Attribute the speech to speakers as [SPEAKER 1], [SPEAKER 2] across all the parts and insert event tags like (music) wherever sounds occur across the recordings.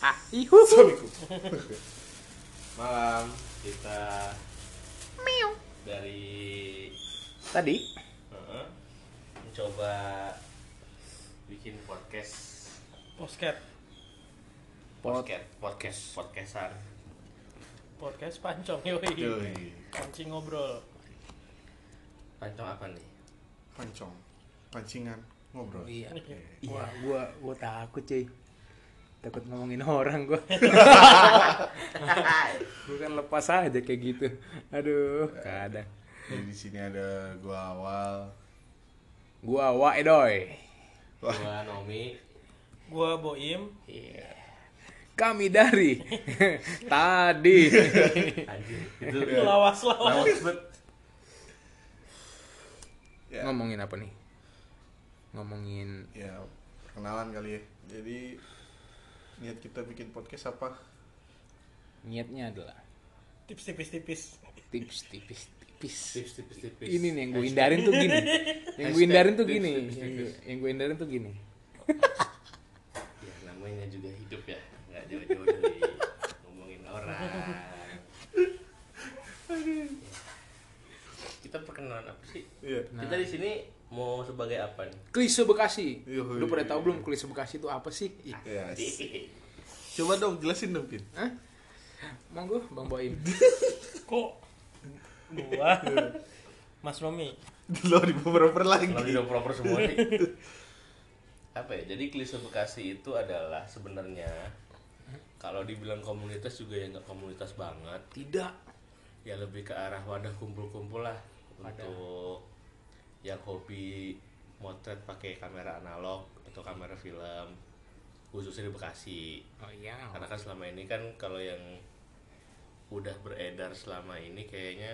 [SPEAKER 1] Ah, ihu.
[SPEAKER 2] Suamiku. Malam kita dari
[SPEAKER 1] Tadi
[SPEAKER 2] Heeh. mencoba bikin podcast
[SPEAKER 3] Podcast
[SPEAKER 1] Pod-
[SPEAKER 2] podcast podcast podcastan.
[SPEAKER 3] podcast pancong yoi.
[SPEAKER 2] Yoi.
[SPEAKER 4] Iya.
[SPEAKER 3] Pancing ngobrol.
[SPEAKER 2] Pancong apa nih?
[SPEAKER 4] pancong pancingan ngobrol
[SPEAKER 2] Iya.
[SPEAKER 1] Wah, gua gua takut, cuy. Takut ngomongin orang (laughs) gua. gua kan lepas aja kayak gitu. Aduh, kadang.
[SPEAKER 4] jadi di sini ada gua awal
[SPEAKER 1] Gua wae doy.
[SPEAKER 2] Gua
[SPEAKER 1] (laughs)
[SPEAKER 2] Nomi.
[SPEAKER 3] Gua Boim.
[SPEAKER 1] Kami (laughs) dari tadi.
[SPEAKER 2] Anjir. Itu
[SPEAKER 4] Iya.
[SPEAKER 3] Lawas-lawas.
[SPEAKER 2] lawas banget.
[SPEAKER 4] ya,
[SPEAKER 1] Ngomongin apa nih? Ngomongin
[SPEAKER 4] ya perkenalan kali ya jadi niat kita bikin podcast apa
[SPEAKER 1] niatnya adalah
[SPEAKER 3] Tips tipis-tipis.
[SPEAKER 1] tips tipis tipis.
[SPEAKER 2] Tips tips tips.
[SPEAKER 1] Ini nih yang gue hindarin tuh gini. Yang gue hindarin tuh
[SPEAKER 2] Hashtag
[SPEAKER 1] gini.
[SPEAKER 2] tips, tips,
[SPEAKER 1] Yang
[SPEAKER 2] tips.
[SPEAKER 1] gue- Yang gue hindarin tuh gini.
[SPEAKER 2] Ya, namanya juga hidup ya. Enggak jauh-jauh dari ngomongin orang.
[SPEAKER 1] (laughs)
[SPEAKER 2] Kita perkenalan apa sih?
[SPEAKER 4] iya
[SPEAKER 2] Kita di sini mau sebagai apa nih?
[SPEAKER 1] Klise Bekasi.
[SPEAKER 4] Yuhui.
[SPEAKER 1] Lu pada tahu belum klise Bekasi itu apa sih? Ih,
[SPEAKER 4] Yes. Ya, coba dong jelasin dong pin
[SPEAKER 1] Hah? Monggo Bang Boim.
[SPEAKER 3] Kok gua Mas Romi.
[SPEAKER 4] lo di
[SPEAKER 2] (laughs)
[SPEAKER 4] beberapa
[SPEAKER 2] Kalau
[SPEAKER 4] lagi
[SPEAKER 2] tidak proper semua sih. apa ya? Jadi klise Bekasi itu adalah sebenarnya kalau dibilang komunitas juga ya nggak komunitas banget.
[SPEAKER 1] Tidak.
[SPEAKER 2] Ya lebih ke arah wadah kumpul-kumpul lah untuk yang hobi motret pakai kamera analog atau kamera film khususnya di Bekasi.
[SPEAKER 1] Oh iya.
[SPEAKER 2] Karena kan selama ini kan kalau yang udah beredar selama ini kayaknya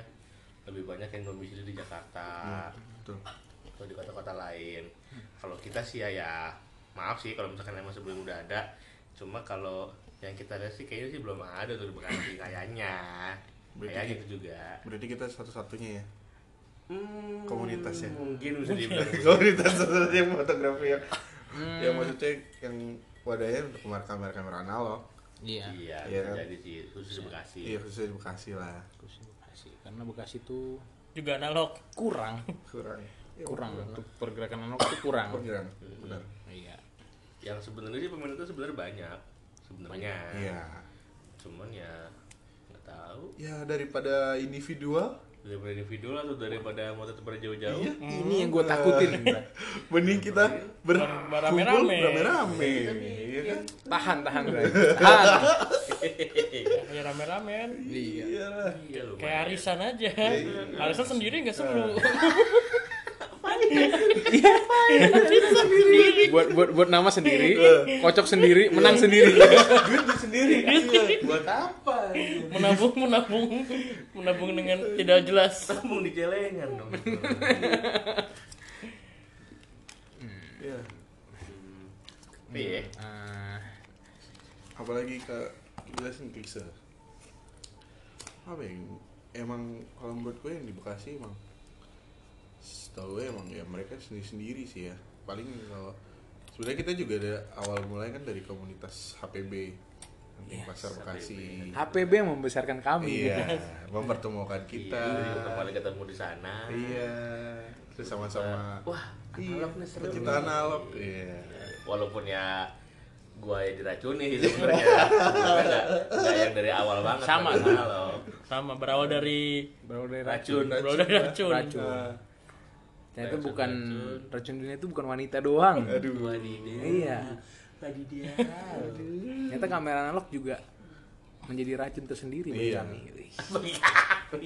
[SPEAKER 2] lebih banyak yang domisili di Jakarta
[SPEAKER 4] Nah, Betul.
[SPEAKER 2] atau di kota-kota lain. Kalau kita sih ya, ya maaf sih kalau misalkan emang sebelum udah ada. Cuma kalau yang kita lihat sih kayaknya sih belum ada tuh di Bekasi kayaknya.
[SPEAKER 4] Berarti
[SPEAKER 2] Kayak
[SPEAKER 4] ki-
[SPEAKER 2] gitu juga.
[SPEAKER 4] berarti kita satu-satunya ya
[SPEAKER 2] Hmm,
[SPEAKER 4] Komunitas ya?
[SPEAKER 2] Mungkin bisa dibilang.
[SPEAKER 4] (laughs)
[SPEAKER 2] gitu.
[SPEAKER 4] komunitas satu-satunya yang fotografi yang
[SPEAKER 1] Ya,
[SPEAKER 4] yang maksudnya yang wadahnya untuk kamera kamera kamera analog
[SPEAKER 1] Iya.
[SPEAKER 2] Iya,
[SPEAKER 4] Iya
[SPEAKER 2] bisa
[SPEAKER 4] kan?
[SPEAKER 2] jadi sih khusus di Bekasi.
[SPEAKER 4] iya khususnya di Bekasi lah
[SPEAKER 1] Klise Bekasi. Karena Bekasi itu
[SPEAKER 3] Juga analog.
[SPEAKER 1] kurang,
[SPEAKER 4] kurang ya,
[SPEAKER 1] Iya, kurang untuk pergerakan anak itu kurang.
[SPEAKER 4] kurang benar
[SPEAKER 1] Iya.
[SPEAKER 2] Yang sebenarnya sih peminatnya sebenarnya banyak sebenarnya.
[SPEAKER 4] iya
[SPEAKER 2] Cuman ya nggak tahu
[SPEAKER 4] ya daripada individual
[SPEAKER 2] daripada individu lah atau daripada motor berjauh-jauh
[SPEAKER 4] Iya,
[SPEAKER 1] Ini yang gue
[SPEAKER 4] (laughs)
[SPEAKER 1] takutin.
[SPEAKER 4] mending kita
[SPEAKER 3] Ber- berame-rame.
[SPEAKER 4] berkumpul berame-rame iya kan
[SPEAKER 1] Tahan, tahan, Bray. Tahan.
[SPEAKER 3] Ya rame-ramen.
[SPEAKER 1] (laughs) Iya.
[SPEAKER 4] iya lah
[SPEAKER 2] iya lumayan.
[SPEAKER 3] Kayak arisan aja. Arisan sendiri nggak seru.
[SPEAKER 1] Buat buat buat nama sendiri, kocok sendiri, menang sendiri.
[SPEAKER 4] duit lu sendiri Iya. buat apa
[SPEAKER 3] menabung, menabung, menabung dengan tidak jelas.
[SPEAKER 2] Ngomong di jelengan dong.
[SPEAKER 4] (laughs) iya ya,
[SPEAKER 2] Iya.
[SPEAKER 1] Ah,
[SPEAKER 4] apalagi ke jelasin klise apa ya emang kalau menurut gue yang di Bekasi emang setahu gue emang ya mereka sendiri sendiri sih ya paling kalau sebenarnya kita juga ada awal mulai kan dari komunitas HPB Anting Pasar Bekasi
[SPEAKER 1] HPB yang membesarkan
[SPEAKER 2] gitu
[SPEAKER 1] kami.
[SPEAKER 4] Iya,
[SPEAKER 2] kan.
[SPEAKER 4] mempertemukan kita.
[SPEAKER 2] Iya, Jadi pertama kali ketemu di sana.
[SPEAKER 4] Iya. Terus sama-sama.
[SPEAKER 2] Wah, analog nih seru.
[SPEAKER 4] Kita analog. Iya.
[SPEAKER 2] Walaupun ya gua yang diracuni sih sebenarnya. Gua nggak- nggak yang dari awal banget.
[SPEAKER 3] Sama,
[SPEAKER 2] tapi analog.
[SPEAKER 3] Sama berawal dari
[SPEAKER 1] Baru dari
[SPEAKER 2] Racun.
[SPEAKER 3] berawal dari racun.
[SPEAKER 1] Racun. Ternyata
[SPEAKER 2] Racun,
[SPEAKER 1] bukan
[SPEAKER 2] racun.
[SPEAKER 1] racun dunia itu bukan wanita doang.
[SPEAKER 4] Aduh.
[SPEAKER 2] Wadidaw.
[SPEAKER 1] Iya.
[SPEAKER 2] (laughs) Wadidaw.
[SPEAKER 1] Ternyata kamera analog juga menjadi racun tersendiri bagi
[SPEAKER 4] Iya.
[SPEAKER 1] kami.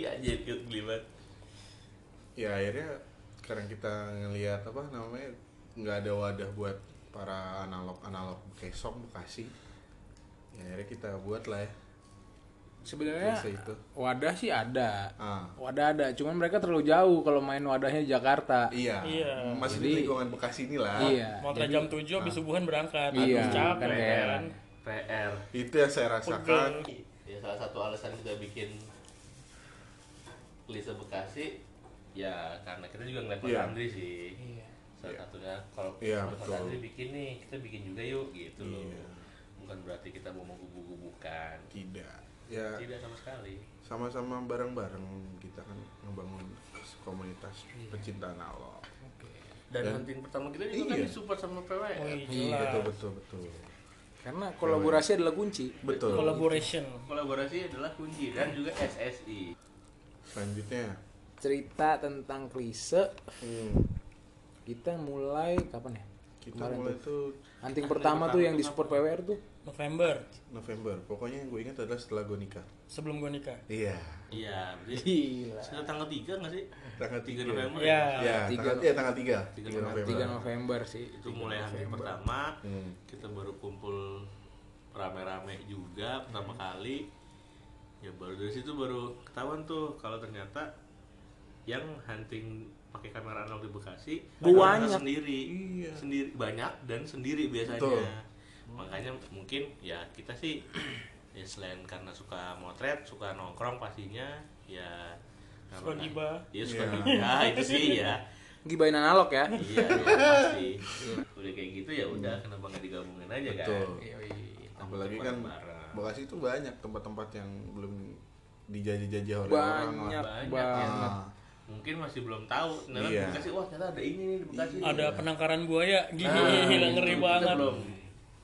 [SPEAKER 2] Iya, jadi geli banget.
[SPEAKER 4] Ya akhirnya sekarang kita ngelihat apa namanya nggak ada wadah buat para analog-analog Bekesong Bekasi. Ya akhirnya kita buat lah ya.
[SPEAKER 1] Sebenarnya
[SPEAKER 4] Klise itu.
[SPEAKER 1] wadah sih ada.
[SPEAKER 4] Ah.
[SPEAKER 1] Wadah ada, cuman mereka terlalu jauh kalau main wadahnya di Jakarta.
[SPEAKER 4] Iya.
[SPEAKER 3] Iya.
[SPEAKER 4] Masih di
[SPEAKER 1] Jadi-
[SPEAKER 4] lingkungan Bekasi inilah.
[SPEAKER 1] Iya.
[SPEAKER 3] Mau antara jam 7 habis subuhan berangkat.
[SPEAKER 1] Iya,
[SPEAKER 3] Aduh, capek
[SPEAKER 1] kan heran.
[SPEAKER 3] kan.
[SPEAKER 2] PR.
[SPEAKER 4] Itu yang saya rasakan.
[SPEAKER 2] ya salah satu alasan kita bikin Lisa Bekasi ya karena kita juga ngeliat Mas
[SPEAKER 4] Iya.
[SPEAKER 2] Andri sih
[SPEAKER 1] Iya.
[SPEAKER 2] salah
[SPEAKER 4] Iya.
[SPEAKER 2] satunya kalau
[SPEAKER 4] Iya,
[SPEAKER 2] Mas
[SPEAKER 4] betul.
[SPEAKER 2] Andri bikin nih kita bikin juga yuk gitu loh
[SPEAKER 4] Iya.
[SPEAKER 2] bukan berarti kita mau kan
[SPEAKER 4] tidak ya
[SPEAKER 2] tidak sama sekali
[SPEAKER 4] sama-sama bareng-bareng kita kan ngebangun komunitas
[SPEAKER 2] Iya.
[SPEAKER 4] pecinta analog
[SPEAKER 3] Dan
[SPEAKER 4] Dan-
[SPEAKER 3] hunting pertama kita juga kan
[SPEAKER 4] Iya.
[SPEAKER 3] disupport sama PWR.
[SPEAKER 5] Oh, iya.
[SPEAKER 4] iya
[SPEAKER 5] Jelas.
[SPEAKER 4] betul betul betul
[SPEAKER 1] Karena kolaborasi adalah kunci.
[SPEAKER 4] betul
[SPEAKER 5] Collaboration.
[SPEAKER 2] kolaborasi adalah kunci dan juga SSI
[SPEAKER 4] selanjutnya
[SPEAKER 1] Cerita tentang klise
[SPEAKER 4] hmm,
[SPEAKER 1] kita mulai kapan ya?
[SPEAKER 4] kita
[SPEAKER 1] Kemarin
[SPEAKER 4] mulai tuh
[SPEAKER 1] Hunting pertama tuh yang di support PWR tuh.
[SPEAKER 5] November
[SPEAKER 4] November pokoknya yang gue ingat adalah setelah gue nikah
[SPEAKER 5] sebelum gue nikah.
[SPEAKER 4] iya
[SPEAKER 2] iya berarti
[SPEAKER 1] Gila.
[SPEAKER 2] sekarang tanggal 3 nggak sih
[SPEAKER 4] tanggal
[SPEAKER 2] 3
[SPEAKER 4] tiga
[SPEAKER 2] November
[SPEAKER 5] Iya.
[SPEAKER 4] ya
[SPEAKER 1] Tiga
[SPEAKER 4] tanggal
[SPEAKER 1] November.
[SPEAKER 4] ya tanggal tiga
[SPEAKER 2] Tiga
[SPEAKER 4] Tiga
[SPEAKER 2] November.
[SPEAKER 1] 3 November sih.
[SPEAKER 2] itu mulai hari pertama
[SPEAKER 4] Hmm.
[SPEAKER 2] kita baru kumpul rame-rame juga pertama kali ya baru dari situ baru ketahuan tuh kalau ternyata yang hunting pakai kamera analog di Bekasi
[SPEAKER 1] Banyak.
[SPEAKER 2] ternyata sendiri sendiri banyak dan sendiri biasanya Hmm.
[SPEAKER 4] Betul.
[SPEAKER 2] makanya mungkin ya kita sih ya selain karena suka motret suka nongkrong pastinya ya
[SPEAKER 5] Suka
[SPEAKER 2] karena-
[SPEAKER 5] gibah.
[SPEAKER 2] iya suka
[SPEAKER 4] Iya.
[SPEAKER 2] gibah, itu sih ya
[SPEAKER 1] Gibain analog ya.
[SPEAKER 2] iya iya, pasti udah kayak gitu ya udah kenapa nggak digabungin aja kan
[SPEAKER 4] Betul.
[SPEAKER 2] Yoi,
[SPEAKER 4] apalagi kan
[SPEAKER 2] bareng.
[SPEAKER 4] Bekasi itu banyak tempat-tempat yang belum dijajah-jajah oleh orang lah.
[SPEAKER 1] Banyak
[SPEAKER 2] Banyak
[SPEAKER 1] banget.
[SPEAKER 4] Ah,
[SPEAKER 2] mungkin masih belum tahu nah
[SPEAKER 4] Iya.
[SPEAKER 2] Bekasi wah ternyata ada ini nih di Bekasi
[SPEAKER 5] Ada penangkaran buaya, gila,
[SPEAKER 4] Nah,
[SPEAKER 5] ngeri
[SPEAKER 4] gitu.
[SPEAKER 2] Kita
[SPEAKER 5] banget.
[SPEAKER 2] belum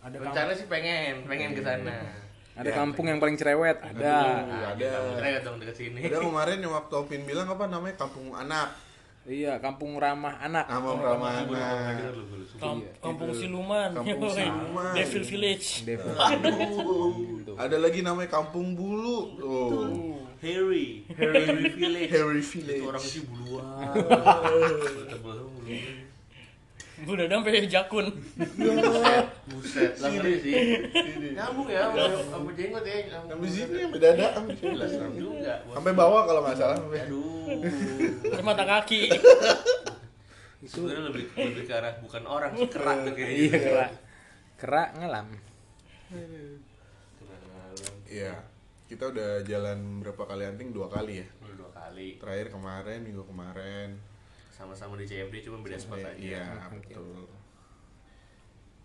[SPEAKER 1] Ada
[SPEAKER 2] rencana sih pengen pengen ke sana
[SPEAKER 4] Iya.
[SPEAKER 2] Nah,
[SPEAKER 1] Ada kampung yang paling cerewet, ada.
[SPEAKER 2] ada ada dong dekat sini (laughs)
[SPEAKER 4] Ada kemarin yang waktu Opin bilang apa namanya Kampung Anak,
[SPEAKER 1] Iya, kampung ramah anak.
[SPEAKER 4] nama Pramana.
[SPEAKER 2] Kita dulu, dulu.
[SPEAKER 5] Kamp- Kampung Siluman,
[SPEAKER 4] gitu ya. Kampung Siluman.
[SPEAKER 5] Devil Village.
[SPEAKER 1] Devil.
[SPEAKER 4] Ada lagi namanya Kampung Bulu. Oh.
[SPEAKER 2] Harry Harry Village
[SPEAKER 4] Harry
[SPEAKER 2] itu
[SPEAKER 4] Village.
[SPEAKER 2] orang sih buluan
[SPEAKER 4] (laughs)
[SPEAKER 2] tebel sama buluan
[SPEAKER 5] Gue udah sampai jakun.
[SPEAKER 2] buset lah ngeri sih nyambung ya sama- sama jenggot ya
[SPEAKER 4] Sampai Kan sini sampai dada sampai sini.
[SPEAKER 2] Gila, serem juga
[SPEAKER 4] Sampai bawah kalau nggak salah. sampai-
[SPEAKER 2] Iya. aduh
[SPEAKER 5] Sampai mata kaki.
[SPEAKER 2] itu sebenarnya lebih lebih ke arah bukan orang sih kerak tuh kayaknya
[SPEAKER 1] Iya, kera. Kera ngelam.
[SPEAKER 2] Kerak dalam.
[SPEAKER 4] Iya. Kita udah jalan berapa kali hunting? Dua kali ya.
[SPEAKER 2] Udah dua kali
[SPEAKER 4] Terakhir kemarin, minggu kemarin.
[SPEAKER 2] sama-sama di CFD cuma beda spot
[SPEAKER 4] Eh,
[SPEAKER 2] aja
[SPEAKER 4] Iya, betul.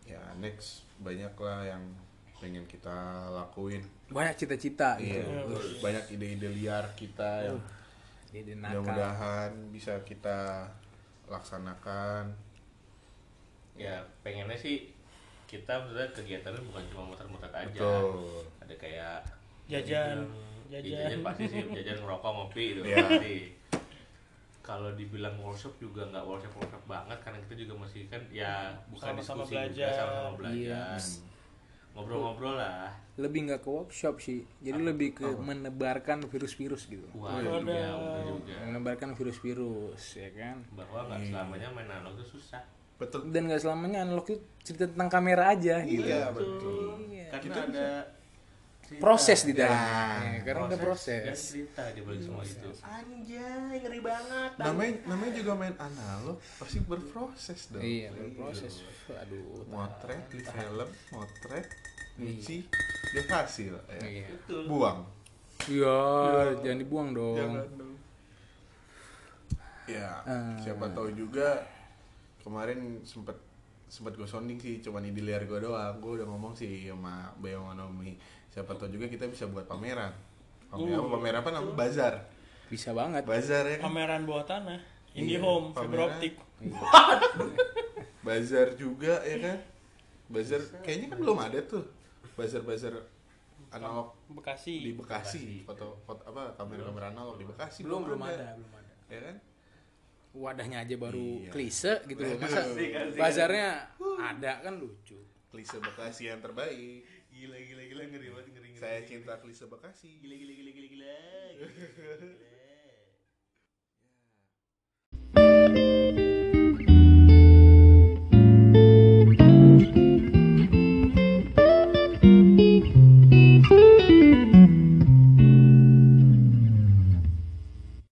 [SPEAKER 4] Ya, next banyaklah yang pengen kita lakuin.
[SPEAKER 1] Banyak cita-cita
[SPEAKER 4] Iya.
[SPEAKER 1] gitu.
[SPEAKER 4] Terus banyak ide-ide liar kita yang
[SPEAKER 1] Jadi nakal.
[SPEAKER 4] mudah-mudahan bisa kita laksanakan.
[SPEAKER 2] ya pengennya sih kita maksudnya kegiatannya bukan cuma muter-muter aja
[SPEAKER 4] Betul.
[SPEAKER 2] ada kayak
[SPEAKER 5] Jajan.
[SPEAKER 2] Ya,
[SPEAKER 5] Jajan.
[SPEAKER 2] jajan pasti sih jajan ngerokok ngopi itu
[SPEAKER 4] Iya.
[SPEAKER 2] pasti kalau dibilang workshop juga nggak workshop workshop banget karena kita juga masih kan ya bukan
[SPEAKER 5] Sama-sama
[SPEAKER 2] diskusi
[SPEAKER 5] belajar.
[SPEAKER 2] juga sama-sama belajar ngobrol-ngobrol lah
[SPEAKER 1] Lebih nggak ke workshop sih. Jadi
[SPEAKER 4] Ah,
[SPEAKER 1] lebih ke menebarkan virus-virus gitu.
[SPEAKER 2] wah juga udah
[SPEAKER 4] iya.
[SPEAKER 2] juga
[SPEAKER 1] Menebarkan virus-virus, ya kan?
[SPEAKER 2] bahwa nggak selamanya main analog itu susah
[SPEAKER 4] Betul.
[SPEAKER 1] Dan nggak selamanya analog itu cerita tentang kamera aja gitu.
[SPEAKER 4] Iya, betul.
[SPEAKER 2] karena ada cerita.
[SPEAKER 1] Proses di dalamnya.
[SPEAKER 4] Ya.
[SPEAKER 1] Ya, karena ada
[SPEAKER 2] dan
[SPEAKER 1] proses.
[SPEAKER 2] cerita di balik semua itu
[SPEAKER 3] Anjay, ngeri banget.
[SPEAKER 4] Namanya namanya juga main analog, pasti berproses dong.
[SPEAKER 1] Iya, berproses. Aduh.
[SPEAKER 4] Motret di film, motret nyuci, dia hasil. ya.
[SPEAKER 1] Iya.
[SPEAKER 2] betul
[SPEAKER 4] Buang.
[SPEAKER 1] Iya, jangan dibuang dong.
[SPEAKER 4] Jangan dong. Ya, siapa tahu juga kemarin sempet sempet gue sounding sih cuman di liar gue doang gue udah ngomong sih sama Bayamanomi siapa tahu juga kita bisa buat pameran pameran apa pameran apa namanya bazar
[SPEAKER 1] Bisa banget.
[SPEAKER 4] bazar ya kan?
[SPEAKER 5] Pameran bawah tanah. Indie
[SPEAKER 4] Iya,
[SPEAKER 5] Home,
[SPEAKER 4] pameran.
[SPEAKER 5] fiber optik.
[SPEAKER 4] bazar juga ya kan bazar kayaknya kan belum ada tuh bazar bazar analog di
[SPEAKER 5] Bekasi.
[SPEAKER 4] Bekasi foto foto apa kamera-kamera analog di Bekasi
[SPEAKER 1] Belum belum ada, belum ada.
[SPEAKER 4] ya kan
[SPEAKER 1] Wadahnya aja baru
[SPEAKER 4] Iya.
[SPEAKER 1] klise gitu loh. Masa bazarnya ada kan lucu.
[SPEAKER 4] klise Bekasi yang terbaik
[SPEAKER 2] gila gila gila ngeri banget ngeri ngeri
[SPEAKER 4] saya cinta klise Bekasi
[SPEAKER 2] gila gila gila gila gila, gila, gila.